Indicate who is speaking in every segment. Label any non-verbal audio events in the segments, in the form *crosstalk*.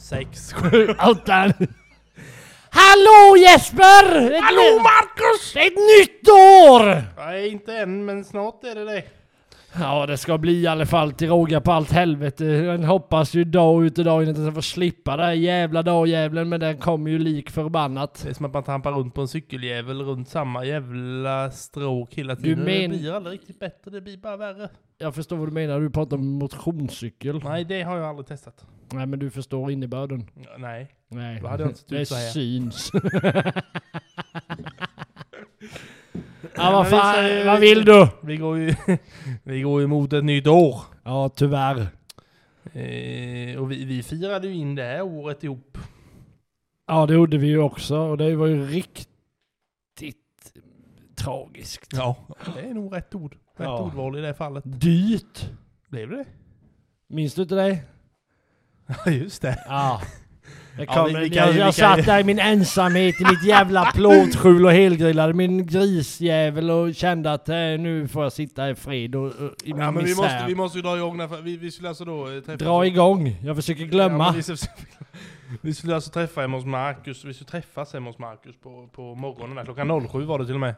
Speaker 1: sex, sju, åtta. Hallå Jesper! Ett
Speaker 2: Hallå
Speaker 1: ny-
Speaker 2: Marcus!
Speaker 1: Ett nytt år!
Speaker 2: Nej, inte än, men snart är det det.
Speaker 1: Ja, det ska bli i alla fall till råga på allt helvete. Den hoppas ju dag ut och dag in att den får slippa det här jävla dagjävlen, men den kommer ju lik förbannat.
Speaker 2: Det är som att man trampar runt på en cykeljävel runt samma jävla stråk hela
Speaker 1: Du
Speaker 2: tiden.
Speaker 1: men-
Speaker 2: Det blir aldrig riktigt bättre, det blir bara värre.
Speaker 1: Jag förstår vad du menar, du pratar om motionscykel.
Speaker 2: Nej, det har jag aldrig testat.
Speaker 1: Nej, men du förstår innebörden.
Speaker 2: Ja, Nej.
Speaker 1: Nej,
Speaker 2: Då hade jag inte sett
Speaker 1: det
Speaker 2: ut så här. *laughs*
Speaker 1: syns. ja,
Speaker 2: men
Speaker 1: vad
Speaker 2: vi
Speaker 1: fan,
Speaker 2: säger-
Speaker 1: vad vill du?
Speaker 2: Vi går ju *laughs* vi går ju mot ett nytt år.
Speaker 1: Ja, tyvärr.
Speaker 2: Eh, och vi, vi firade ju in det här året ihop.
Speaker 1: Ja, det gjorde vi ju också och det var ju riktigt tragiskt.
Speaker 2: Ja, det är nog rätt ord. Rätt
Speaker 1: Ja.
Speaker 2: ordval i det här fallet.
Speaker 1: Dyrt.
Speaker 2: Blev det?
Speaker 1: Minns du inte det?
Speaker 2: Ja, just det.
Speaker 1: *laughs* Ja. Det
Speaker 2: Ja,
Speaker 1: kom,
Speaker 2: vi- vi kan
Speaker 1: jag
Speaker 2: ju- vi
Speaker 1: jag
Speaker 2: kan ju-
Speaker 1: satt där i min ensamhet i mitt jävla plåtskjul och helgrillade min grisjävel och kände att eh, nu får jag sitta i fred och, och i min
Speaker 2: Ja, men vi
Speaker 1: misär.
Speaker 2: måste, vi måste ju dra igång därför. Vi, vi skulle alltså då eh, träffas.
Speaker 1: Dra igång, jag försöker glömma.
Speaker 2: Ja, men vi, *laughs* skulle, vi skulle alltså träffa hemma hos Marcus. Vi skulle träffas hemma hos Marcus på, på morgonen där. Klockan 07 var det till och med.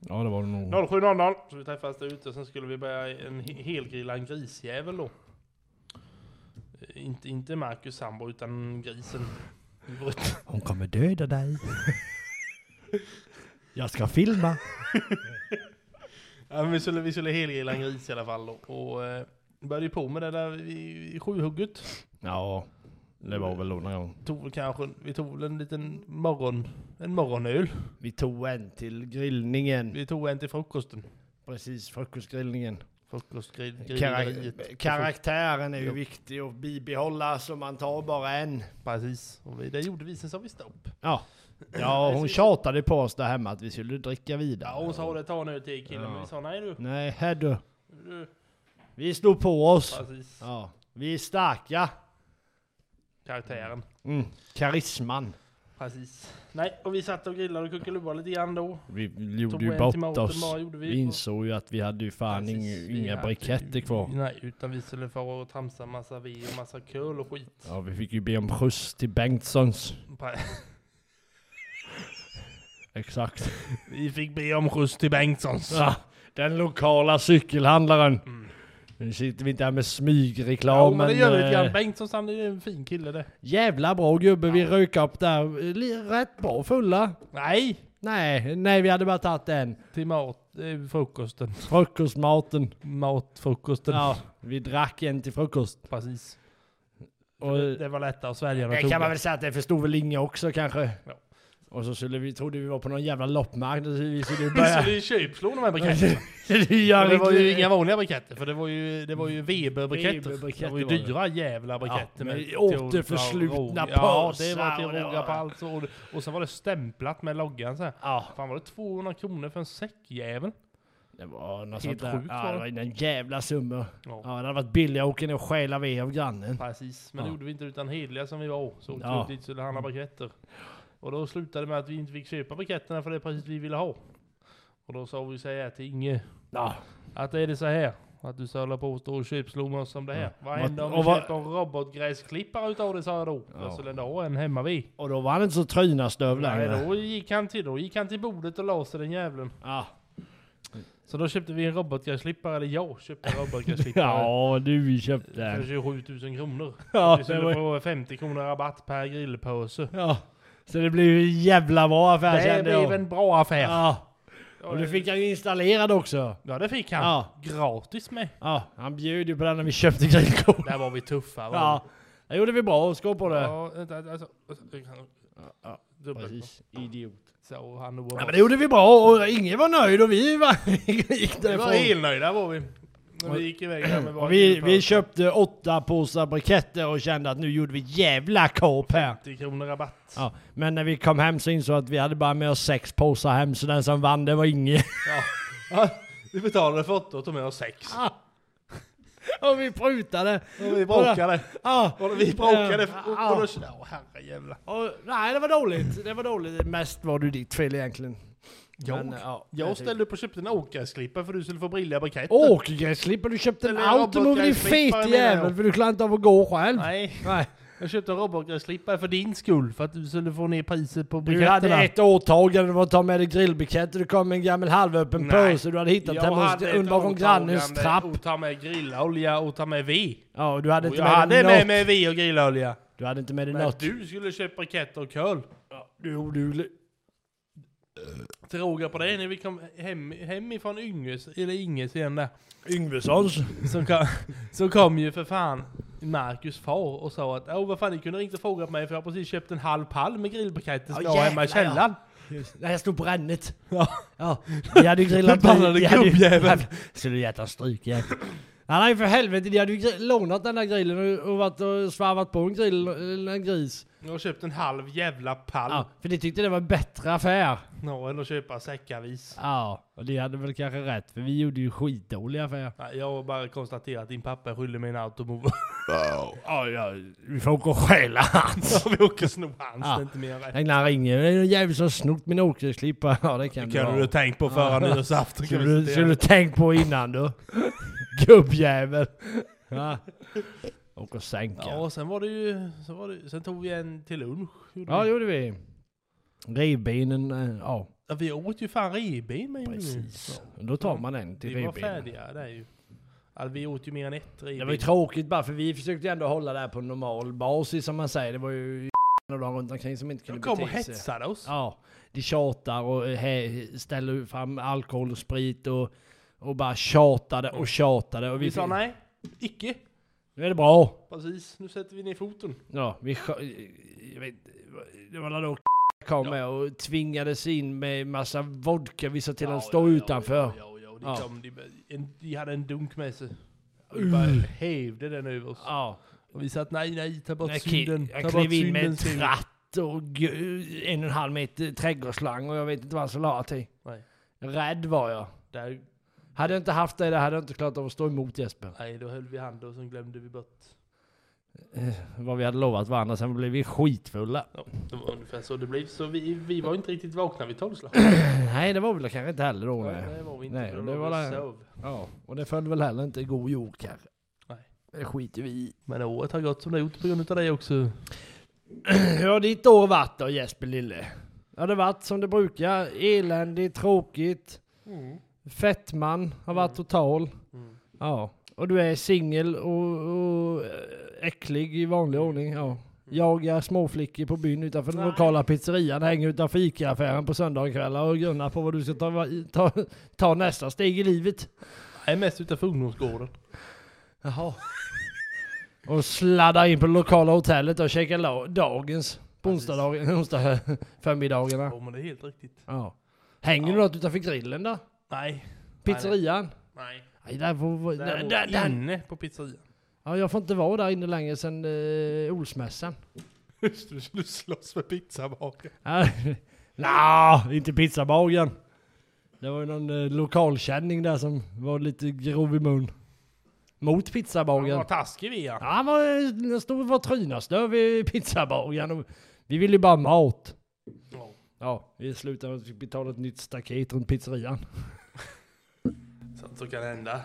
Speaker 1: ja det var det nog.
Speaker 2: 07.00. Så vi träffades där ute. Sen skulle vi börja en he- helgrilla en grisjävel då. Eh, Inte, inte Marcus sambo utan grisen.
Speaker 1: Hon kommer döda dig. jag ska filma.
Speaker 2: Ja, men vi skulle, vi skulle helgrilla en gris i alla fall då. Och eh, började ju på med det där i, i sjuhugget.
Speaker 1: Ja, det var väl någon gång.
Speaker 2: Tog väl kanske, vi tog väl en liten morgon, en morgonöl.
Speaker 1: Vi tog en till grillningen.
Speaker 2: Vi tog en till frukosten.
Speaker 1: Precis, frukostgrillningen.
Speaker 2: Frukostgrilleriet.
Speaker 1: karaktären är ju
Speaker 2: Jo.
Speaker 1: viktig att bibehålla så man tar bara en.
Speaker 2: Precis, och vi, det gjorde vi, sen sa vi stopp.
Speaker 1: Ja. Ja, hon tjatade på oss där hemma att vi skulle dricka vidare.
Speaker 2: Ja, hon sa det, ta nu till killen,
Speaker 1: Ja.
Speaker 2: men vi sa nej du.
Speaker 1: Nej, här du.
Speaker 2: du.
Speaker 1: Vi stod på oss.
Speaker 2: Precis,
Speaker 1: Ja. Vi är starka.
Speaker 2: karaktären.
Speaker 1: Mm. Karisman.
Speaker 2: Precis. Nej, och vi satt och grillade och kuckelubade lite grann då.
Speaker 1: Vi
Speaker 2: Tog
Speaker 1: gjorde ju
Speaker 2: en till
Speaker 1: bort
Speaker 2: maten
Speaker 1: oss.
Speaker 2: bara, gjorde
Speaker 1: Vi insåg ju att vi hade ju fan
Speaker 2: Precis,
Speaker 1: ing-
Speaker 2: vi
Speaker 1: inga
Speaker 2: hade-
Speaker 1: briketter kvar.
Speaker 2: Nej, utan vi skulle få och tramsa massa vi och massa köl och skit.
Speaker 1: Ja, vi fick ju be om skjuts till Bengtssons.
Speaker 2: Pre- *laughs*
Speaker 1: Exakt.
Speaker 2: *laughs* Vi fick be om skjuts till Bengtssons.
Speaker 1: Ja, den lokala cykelhandlaren.
Speaker 2: Mm.
Speaker 1: Nu sitter vi inte här med
Speaker 2: Ja,
Speaker 1: smygreklam.
Speaker 2: men det gör vi lite
Speaker 1: eh,
Speaker 2: grann. Bengtssons, han är en fin kille det.
Speaker 1: Jävla bra gubbe, vi rök upp där. Li- Rätt bra fulla.
Speaker 2: Nej!
Speaker 1: Nej, nej vi hade bara tagit en.
Speaker 2: Till mat, eh, frukosten.
Speaker 1: Frukostmaten.
Speaker 2: Matfrukosten.
Speaker 1: Ja, vi drack en till frukost.
Speaker 2: Precis.
Speaker 1: Och eh,
Speaker 2: det, det var lättare att svälja än att
Speaker 1: det kan
Speaker 2: tugga.
Speaker 1: man väl säga att det förstod väl inga också kanske.
Speaker 2: Ja.
Speaker 1: Och så skulle vi, trodde vi var på någon jävla loppmarknad så vi
Speaker 2: *laughs*
Speaker 1: skulle
Speaker 2: Vi
Speaker 1: börja...
Speaker 2: skulle ju köpslå de här briketterna.
Speaker 1: Ja, *laughs*
Speaker 2: Och det var ju inga vanliga briketter, för det var ju, det var ju Weber-briketter.
Speaker 1: Weber-briketter
Speaker 2: Det var ju
Speaker 1: var det.
Speaker 2: dyra jävla briketter.
Speaker 1: Ja,
Speaker 2: med
Speaker 1: med
Speaker 2: till
Speaker 1: återförslutna
Speaker 2: råg- Ja, det
Speaker 1: pölsar
Speaker 2: var till
Speaker 1: och det
Speaker 2: råga
Speaker 1: var-
Speaker 2: pals. Och, och sen var det stämplat med loggan så här.
Speaker 1: Ja,
Speaker 2: Fan var det 200 kronor för en säckjävel?
Speaker 1: det var något
Speaker 2: Helt
Speaker 1: sånt där.
Speaker 2: sjukt var
Speaker 1: Ja,
Speaker 2: det.
Speaker 1: det var en jävla summa.
Speaker 2: Ja,
Speaker 1: Ja, det hade varit billigare att åka ner och stjäla ved av grannen.
Speaker 2: precis. Men det
Speaker 1: Ja.
Speaker 2: gjorde vi inte utan hederliga som vi var. Så åkte vi
Speaker 1: Ja.
Speaker 2: upp dit och skulle handla briketter. Och då slutade det med att vi inte fick köpa briketterna för det är precis vi ville ha. Och då sa vi så här till Inge.
Speaker 1: Ja.
Speaker 2: Att är det så här? Att du sölar på och står och köpslår med oss som det här. Vad
Speaker 1: Vad-
Speaker 2: händer om vi
Speaker 1: och vad-
Speaker 2: köper en robotgräsklippare utav det sa jag då.
Speaker 1: Ja.
Speaker 2: Jag skulle ändå ha en hemma vid.
Speaker 1: Och då var han inte så trynastöv
Speaker 2: Nej,
Speaker 1: längre.
Speaker 2: då gick han till, då gick han till bordet och la sig den jävlen.
Speaker 1: Ja.
Speaker 2: Så då köpte vi en robotgräsklippare, eller jag köpte en robotgräsklippare.
Speaker 1: *laughs* Ja, du köpte
Speaker 2: För
Speaker 1: den.
Speaker 2: 27 000 kronor.
Speaker 1: Ja,
Speaker 2: vi
Speaker 1: det
Speaker 2: skulle
Speaker 1: var...
Speaker 2: få 50 kronor rabatt per grillpåse.
Speaker 1: ja. Så det blev ju en jävla bra affär
Speaker 2: Det
Speaker 1: kände
Speaker 2: blev
Speaker 1: jag.
Speaker 2: en bra affär.
Speaker 1: Ja. Och du fick han ju installerad också.
Speaker 2: Ja det fick han.
Speaker 1: Ja.
Speaker 2: Gratis med.
Speaker 1: ja. Han bjöd ju på den när vi köpte grillkorv.
Speaker 2: Där var vi tuffa. Var
Speaker 1: Ja. Det gjorde vi bra. Skål på
Speaker 2: vi?
Speaker 1: det.
Speaker 2: ja vänta, alltså,
Speaker 1: Ja,
Speaker 2: dubbelt.
Speaker 1: Precis. Idiot.
Speaker 2: Så han och
Speaker 1: Ja, men det gjorde vi bra och ingen var nöjd och vi var... *laughs* gick
Speaker 2: Vi var
Speaker 1: därifrån.
Speaker 2: elnöjda var vi. När vi gick iväg där med våra
Speaker 1: Och vi,
Speaker 2: grillpåsar.
Speaker 1: vi köpte åtta påsar briketter och kände att nu gjorde vi jävla kap här.
Speaker 2: 50 kronor rabatt.
Speaker 1: Ja, men när vi kom hem så insåg jag att vi hade bara med oss sex påsar hem, så den som vann det var ingen.
Speaker 2: Ja. Vi betalade för åtta och tog med oss sex.
Speaker 1: *laughs* och Ah. vi prutade.
Speaker 2: Och vi bråkade.
Speaker 1: Ja.
Speaker 2: Och vi bråkade.
Speaker 1: Ja. Ah.
Speaker 2: Och, och då... Ja, herrejävlar.
Speaker 1: Och, nej, det var dåligt. Det var dåligt. Mest var det ditt fel egentligen.
Speaker 2: Jag?
Speaker 1: ja,
Speaker 2: Jag ställde upp och köpte en åkgräsklippare för du skulle få billiga briketter.
Speaker 1: Åkgräsklippare, du köpte en
Speaker 2: Eller
Speaker 1: automobile din
Speaker 2: robotgräsklippare
Speaker 1: fete
Speaker 2: menar jag.
Speaker 1: jävel för du klarade inte av att gå själv.
Speaker 2: Nej.
Speaker 1: Nej.
Speaker 2: Jag köpte en robotgräsklippa för din skull, för att du skulle få ner priset på
Speaker 1: Du hade
Speaker 2: briketterna.
Speaker 1: ett åtagande, det var att ta med dig grillbriketter, det kom en gammal halvöppen
Speaker 2: Nej.
Speaker 1: påse, du hade hittat hemma hos- under bakom grannens trapp.
Speaker 2: och ta med grillolja och ta med ved.
Speaker 1: Ja, och du hade
Speaker 2: Och
Speaker 1: inte
Speaker 2: jag
Speaker 1: med, dig
Speaker 2: hade med
Speaker 1: något.
Speaker 2: mig ved och grillolja.
Speaker 1: Du hade inte med dig
Speaker 2: Men
Speaker 1: något.
Speaker 2: du skulle köpa briketter och köl.
Speaker 1: Du, oduglig.
Speaker 2: Till råga på det när vi kom hem, hemifrån Ynges, eller Inges igen där.
Speaker 1: Yngvessons.
Speaker 2: Som kom, som kom ju för fan Marcus far och sa att åh vad fan ni kunde inte fråga på mig för jag har precis köpt en halv pall med grillbriketter som
Speaker 1: Ja,
Speaker 2: jag har hemma i
Speaker 1: jävlar, ja.
Speaker 2: källaren.
Speaker 1: Nej, jag stod på rännet.
Speaker 2: Ja.
Speaker 1: Ja, vi hade ju *laughs* grillat...
Speaker 2: Förbannade
Speaker 1: vi hade ju-
Speaker 2: gubbjävel.
Speaker 1: Skulle du gett han stryk igen? Han har ju för helvete, de hade ju gri- lånat den där grillen och, och, varit och svarvat på en grill, eller en gris.
Speaker 2: Jag har köpt en halv jävla pall.
Speaker 1: Ja, för de tyckte det var en bättre affär.
Speaker 2: Ja, eller köpa säckavis.
Speaker 1: Ja, och de hade väl kanske rätt, för vi gjorde ju skitdålig affär.
Speaker 2: Nej, Jag har bara konstaterat att din pappa skyller mig en
Speaker 1: *laughs*
Speaker 2: automobil.
Speaker 1: Ja, ja, vi får åka och *laughs* stjäla hans.
Speaker 2: Vi åker sno hans,
Speaker 1: Ja.
Speaker 2: det är inte mer än rätt.
Speaker 1: Tänk när han ringer, det är någon jävel som har snott min åkerklippa. *laughs* Ja, det kan det
Speaker 2: Kan
Speaker 1: vara.
Speaker 2: du ha tänkt på förra nyårsafton? kan
Speaker 1: Skulle
Speaker 2: vi
Speaker 1: du,
Speaker 2: citera.
Speaker 1: skulle du tänkt på innan du? *laughs* Gubbjävel. *laughs* Ja. Och och sänka.
Speaker 2: Ja,
Speaker 1: Ja,
Speaker 2: och sen var det ju... Sen, var det, sen tog vi en till lunch. gjorde
Speaker 1: det
Speaker 2: vi.
Speaker 1: gjorde vi. Revbenen, eh, ja
Speaker 2: Ja, vi åt ju fan revben med
Speaker 1: precis.
Speaker 2: Ja.
Speaker 1: Då tar man en till
Speaker 2: Vi var
Speaker 1: revbenen.
Speaker 2: färdiga där ju. Alltså, vi åt ju mer än ett revben.
Speaker 1: Det var ju tråkigt bara för vi försökte ju ändå hålla det här på normal basis som man säger. Det var ju *laughs* och de runt omkring som inte kunde
Speaker 2: De kom och
Speaker 1: bete sig.
Speaker 2: hetsade oss.
Speaker 1: Ja, de tjatar och eh, he- ställer fram alkohol och sprit och, och bara tjatade och tjatade. Och vi,
Speaker 2: Vi sa nej, icke.
Speaker 1: Nu är det bra.
Speaker 2: Precis, nu sätter vi ner foten.
Speaker 1: Ja, vi skö- jag vet, Det var då *laughs* kom med och tvingades in med massa vodka. Vi sa till honom stå utanför.
Speaker 2: Ja, ja, ja, de,
Speaker 1: Ja. Uh.
Speaker 2: Kom, de, en, de hade en dunk med sig. Och de bara hävde den över oss.
Speaker 1: Ja,
Speaker 2: Och vi sa att nej, nej, ta bort
Speaker 1: jag,
Speaker 2: synden.
Speaker 1: ki-
Speaker 2: Ta bort
Speaker 1: jag klev in med
Speaker 2: synden,
Speaker 1: en
Speaker 2: synden.
Speaker 1: tratt och gu- en och en halv meter trädgårdsslang och jag vet inte vad han skulle ha till.
Speaker 2: Nej.
Speaker 1: Rädd var jag.
Speaker 2: Där,
Speaker 1: Hade jag inte haft det där hade jag inte klarat av att stå emot Jesper.
Speaker 2: nej, då höll vi hand och sen glömde vi bort. Eh,
Speaker 1: Vad vi hade lovat varandra, sen blev
Speaker 2: *clears throat*
Speaker 1: vi skitfulla.
Speaker 2: Ja, det var ungefär så det blev. Så vi, vi var inte riktigt vakna vid tolvslag.
Speaker 1: Nej, det var väl kanske inte heller då. Nej.
Speaker 2: Nej, det var vi inte.
Speaker 1: Nej,
Speaker 2: för då
Speaker 1: det
Speaker 2: låg
Speaker 1: var
Speaker 2: vi och
Speaker 1: det.
Speaker 2: sov.
Speaker 1: Ja, och det föll väl heller inte i god jord kanske.
Speaker 2: Nej.
Speaker 1: Det skiter vi i. *clears throat*
Speaker 2: Men året har gått som det har gjort på grund av dig också.
Speaker 1: Hur har ditt år varit då Jesper Lille? Har det varit som det brukar? Eländigt, tråkigt, fettman har varit
Speaker 2: Mm.
Speaker 1: total.
Speaker 2: Mm.
Speaker 1: Ja. Och du är singel och, och eh, äcklig i vanlig ordning. Ja. Jagar småflickor på byn utanför den
Speaker 2: Mm. Nej.
Speaker 1: lokala pizzerian, hänger utanför ICA-affären på söndagskvällar och grunnar på vad du ska ta, ta, ta nästa steg i livet.
Speaker 2: Nej, mest utanför ungdomsgården.
Speaker 1: Jaha. *laughs* Och sladdar in på det lokala hotellet och käkar la- dagens på
Speaker 2: Precis.
Speaker 1: onsdagsdagen- *laughs* onsdag förmiddagarna.
Speaker 2: Ja, men det är helt riktigt.
Speaker 1: Ja. Hänger du
Speaker 2: Ja.
Speaker 1: något utanför grillen då?
Speaker 2: Nej.
Speaker 1: Pizzerian?
Speaker 2: Nej.
Speaker 1: Nej, där får,
Speaker 2: Där,
Speaker 1: där, där, där.
Speaker 2: inne på pizzerian.
Speaker 1: Ja, jag får inte vara där inne längre sen eh, Olsmässan.
Speaker 2: Just det, du slåss med pizzabaken.
Speaker 1: Ja. *laughs* Nja, inte pizzabagen. Det var ju någon eh, lokalkänning där som var lite grov i mun. Mot
Speaker 2: Han
Speaker 1: pizzabagen.
Speaker 2: var taskig vi ja.
Speaker 1: Ja, han var, han stod och var trynastöv i pizzabagen. och Vi ville ju bara ha mat.
Speaker 2: Ja.
Speaker 1: Ja, vi slutade med att vi fick betala ett nytt staket runt pizzerian.
Speaker 2: Sånt som kan hända.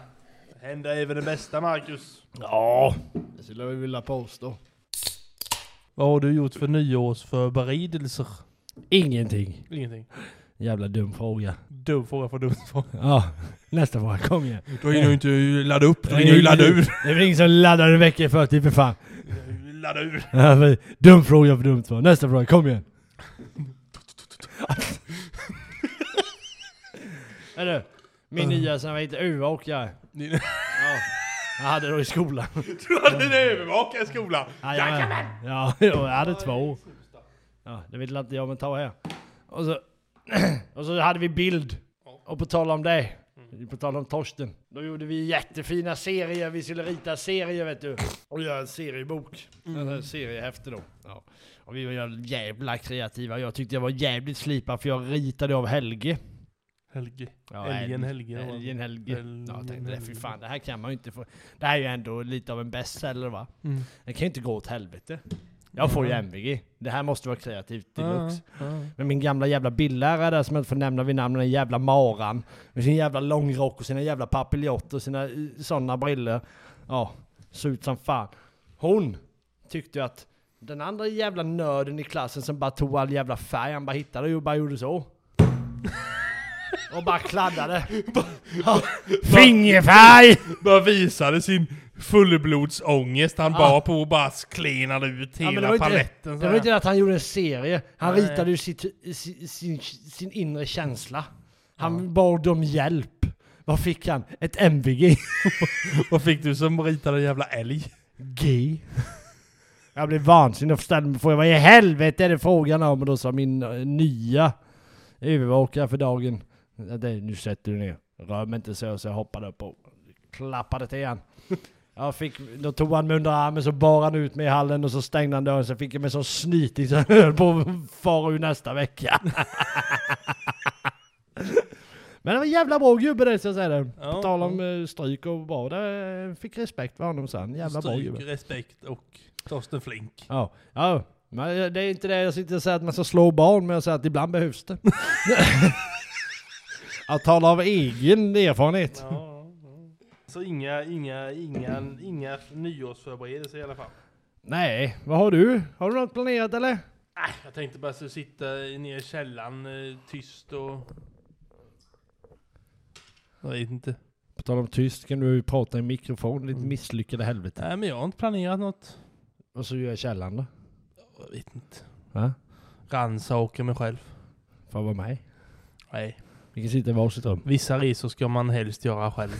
Speaker 2: Hända även det bästa Marcus.
Speaker 1: Ja, det skulle jag vilja påstå.
Speaker 2: Vad har du gjort för nyårsförberedelser?
Speaker 1: Ingenting.
Speaker 2: Ingenting.
Speaker 1: Jävla dum fråga.
Speaker 2: Dum fråga för dum fråga.
Speaker 1: Ja, nästa fråga. Kom igen.
Speaker 2: Då hinner du inte ladda upp,
Speaker 1: Det är ingen- Det är väl ingen som laddar en vecka i förtid för fan.
Speaker 2: Ladda ur.
Speaker 1: Ja, men *laughs* Dum fråga för dumt svar. Nästa fråga. Kom igen. Hörru, min nya som heter övervakare.
Speaker 2: *laughs* Din-
Speaker 1: Ja, jag hade då i skolan.
Speaker 2: Du hade en övervakare i skolan.
Speaker 1: Jajamän! Ja, *laughs* jag hade två. Ja, det vill inte jag, men ta här. Och så, *clears throat* och så hade vi bild. Och på tal om det, på tal om Torsten. Då gjorde vi jättefina serier, vi skulle rita serier vet du. Och göra en seriebok. Eller en seriehäfte då. Ja. Och vi var ju jävla kreativa. Jag tyckte jag var jävligt slipad för jag ritade av Helge.
Speaker 2: Helge.
Speaker 1: Ja,
Speaker 2: Älgen
Speaker 1: Hel-
Speaker 2: Helge. var det.
Speaker 1: Älgen Helge.
Speaker 2: Älgen
Speaker 1: Ja, jag tänkte det, fy
Speaker 2: Helge.
Speaker 1: fan det här kan man ju inte få. Det här är ju ändå lite av en bestseller va.
Speaker 2: Mm.
Speaker 1: Det kan ju inte gå åt helvete. Jag får ju
Speaker 2: Ja.
Speaker 1: MVG. Det här måste vara kreativt
Speaker 2: Ja,
Speaker 1: deluxe.
Speaker 2: ja.
Speaker 1: Men min gamla jävla bildlärare där som jag inte får nämna vid namn, den jävla maran. Med sin jävla långrock och sina jävla papiljotter och sina eh, sådana briller. Ja, såg ut som fan. Hon tyckte ju att Den andra jävla nörden i klassen som bara tog all jävla färg, han bara hittade och bara gjorde så. Och bara kladdade. Ja, Fingerfärg!
Speaker 2: Bara visade sin fullblodsångest han
Speaker 1: Ah.
Speaker 2: bar på och bara klenade ut
Speaker 1: Ja, men
Speaker 2: hela
Speaker 1: det var inte-
Speaker 2: paletten. så
Speaker 1: Det var
Speaker 2: här.
Speaker 1: inte att han gjorde en serie. Han
Speaker 2: Nej.
Speaker 1: ritade ju sitt, sin, sin, sin inre känsla. Han bad om hjälp. Vad fick han? Ett MVG.
Speaker 2: Vad fick du som ritade en jävla älg?
Speaker 1: G. Jag blev vansinnig och ställde mig frågan vad i helvete är det frågan om? Och då sa min eh, nya övervakare för dagen. att det- Nu sätter du ner. Rör mig inte så. Så jag hoppade upp och klappade till han. Jag fick, då tog han mig under armen så bar han ut mig i hallen och så stängde han dörren. Så fick jag mig så snyting så jag *laughs* höll på att fara ur nästa vecka. *laughs* Men det var en jävla bra gubbe det ska jag säga det. På
Speaker 2: Ja,
Speaker 1: tal om eh, stryk och bra. Där eh, fick respekt för honom sen. Jävla bra gubbe.
Speaker 2: Stryk, respekt och Torsten Flink.
Speaker 1: Ja, ja. Men eh, det är inte det jag sitter och säger att man ska slå barn, men jag säger att ibland behövs det. Att tala av egen erfarenhet.
Speaker 2: Så inga, inga, inga, inga nyårsförberedelser i alla fall.
Speaker 1: Nej, vad har du? Har du något planerat eller?
Speaker 2: Jag tänkte bara så sitta nere i källaren eh, tyst och... Jag vet inte.
Speaker 1: På tal om tyst kan du ju prata i mikrofon, ditt
Speaker 2: Mm.
Speaker 1: misslyckade helvete.
Speaker 2: Nej men jag har inte planerat något.
Speaker 1: Och så gör jag källan då.
Speaker 2: Jag vet inte.
Speaker 1: Va?
Speaker 2: Rannsaka mig själv.
Speaker 1: Får jag vara med?
Speaker 2: Nej.
Speaker 1: Vi kan sitta i varsitt rum.
Speaker 2: Vissa resor ska man helst göra själv. *laughs*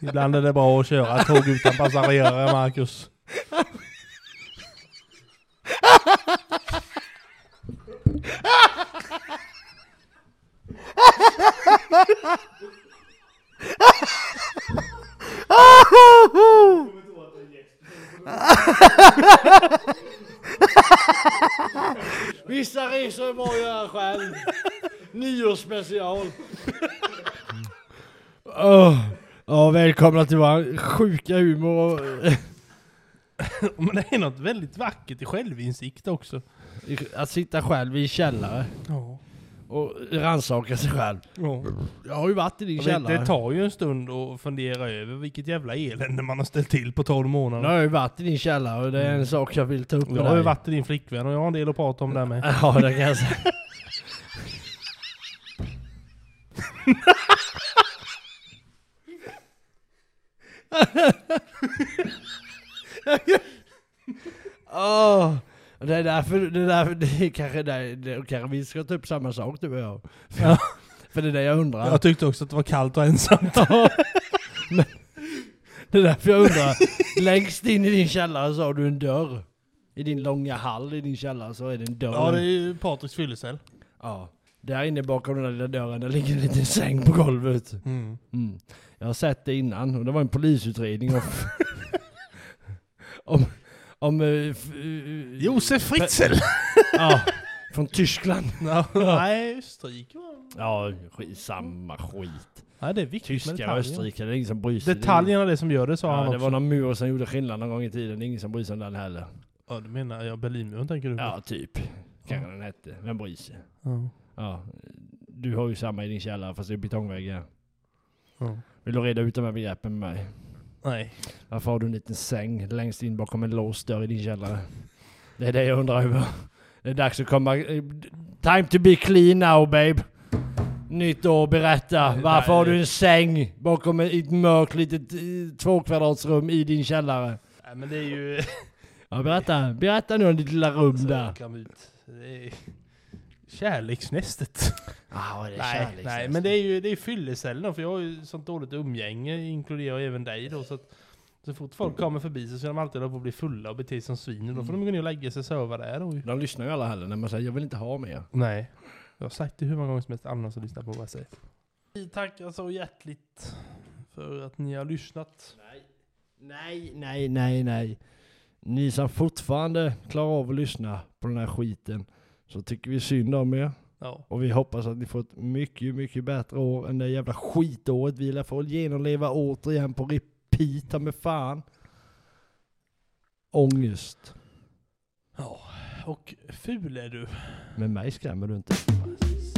Speaker 2: Ibland är det bra att köra tåg utan passagerare, Marcus. *laughs*
Speaker 1: Vissa resor är bra att göra själv. Nyårsspecial. oh, ja, välkomna till vår sjuka humor och eh,
Speaker 2: Men det är något väldigt vackert i självinsikt också.
Speaker 1: att sitta själv i källare
Speaker 2: Ja.
Speaker 1: och rannsaka sig själv. Jag har ju varit i din
Speaker 2: Jag vet,
Speaker 1: källare.
Speaker 2: det tar ju en stund att fundera över vilket jävla elände man har ställt till på 12
Speaker 1: Nu
Speaker 2: månader.
Speaker 1: har jag ju varit i din källare och det är en sak jag vill ta upp med
Speaker 2: Jag har ju
Speaker 1: dig.
Speaker 2: varit i din flickvän och jag har en del att prata om där med.
Speaker 1: Ja, det kan jag säga. Åh, det är därför, det är därför, det är kanske, där, det, kanske vi ska ta upp samma sak du och jag. För,
Speaker 2: Ja.
Speaker 1: för det är det jag undrar.
Speaker 2: Jag tyckte också att det var kallt och ensamt.
Speaker 1: Men, det är därför jag undrar. Längst in i din källare så har du en dörr. I din långa hall i din källare så är det en dörr.
Speaker 2: Ja, det är ju Patriks fyllecell.
Speaker 1: Ja. Där inne bakom den där lilla dörren, där ligger en liten säng på golvet. Mm. Jag har sett det innan och det var en *laughs* polisutredning om... om, om eh, f, eh,
Speaker 2: Josef *laughs* Fritzl!
Speaker 1: ja, från Tyskland.
Speaker 2: Nej, Österrike var
Speaker 1: Ja, skit- samma skit.
Speaker 2: Nej, det är viktigt
Speaker 1: Tyskar och österrikare, det är ingen som bryr sig.
Speaker 2: Detaljerna är det som gör det, sa han
Speaker 1: Ja,
Speaker 2: också.
Speaker 1: det var någon mur som gjorde skillnad någon gång i tiden, det är ingen som bryr sig om den heller.
Speaker 2: Ja, du menar jag Berlinmuren tänker du på?
Speaker 1: Ja, typ. Kanske den hette, vem bryr sig?
Speaker 2: Ja.
Speaker 1: Ja. Du har ju samma i din källare fast det är betongväggar.
Speaker 2: Ja.
Speaker 1: Vill du reda ut de här begreppen med mig?
Speaker 2: Nej.
Speaker 1: Varför har du en liten säng längst in bakom en låst dörr i din källare? Det är det jag undrar över. Det är dags att komma... Time to be clean now babe. Nytt år, berätta. Varför har du en säng bakom ett mörkt litet eh, tvåkvadratsrum i din källare?
Speaker 2: Nej, men det är ju...
Speaker 1: Ja, berätta. Berätta nu om ditt lilla
Speaker 2: Alltså,
Speaker 1: rum där.
Speaker 2: Kom ut. Det är... *laughs* Kärleksnästet.
Speaker 1: Ah, det är
Speaker 2: Nej,
Speaker 1: kärleks-
Speaker 2: nej, men det är ju det är fyllecellerna för jag har ju sånt dåligt umgänge, inkluderar även dig då. Så, att, så fort folk kommer förbi så ska de alltid hålla på att bli fulla och bete sig som svin. Och då får de gå ner och lägga sig och sova där. Och,
Speaker 1: De lyssnar ju alla heller när man säger jag vill inte ha mer.
Speaker 2: nej. Jag har sagt det hur många gånger som helst, annars att lyssna på vad jag säger. Vi tackar så hjärtligt för att ni har lyssnat.
Speaker 1: Nej, nej, nej, nej. Ni som fortfarande klarar av att lyssna på den här skiten så tycker vi synd om er.
Speaker 2: Ja,
Speaker 1: Och vi hoppas att ni får ett mycket, mycket bättre år än det jävla skitåret vi lär få genomleva återigen på repeat, ta med fan. Ångest.
Speaker 2: och ful är du.
Speaker 1: Men mig skrämmer du inte.
Speaker 2: Precis.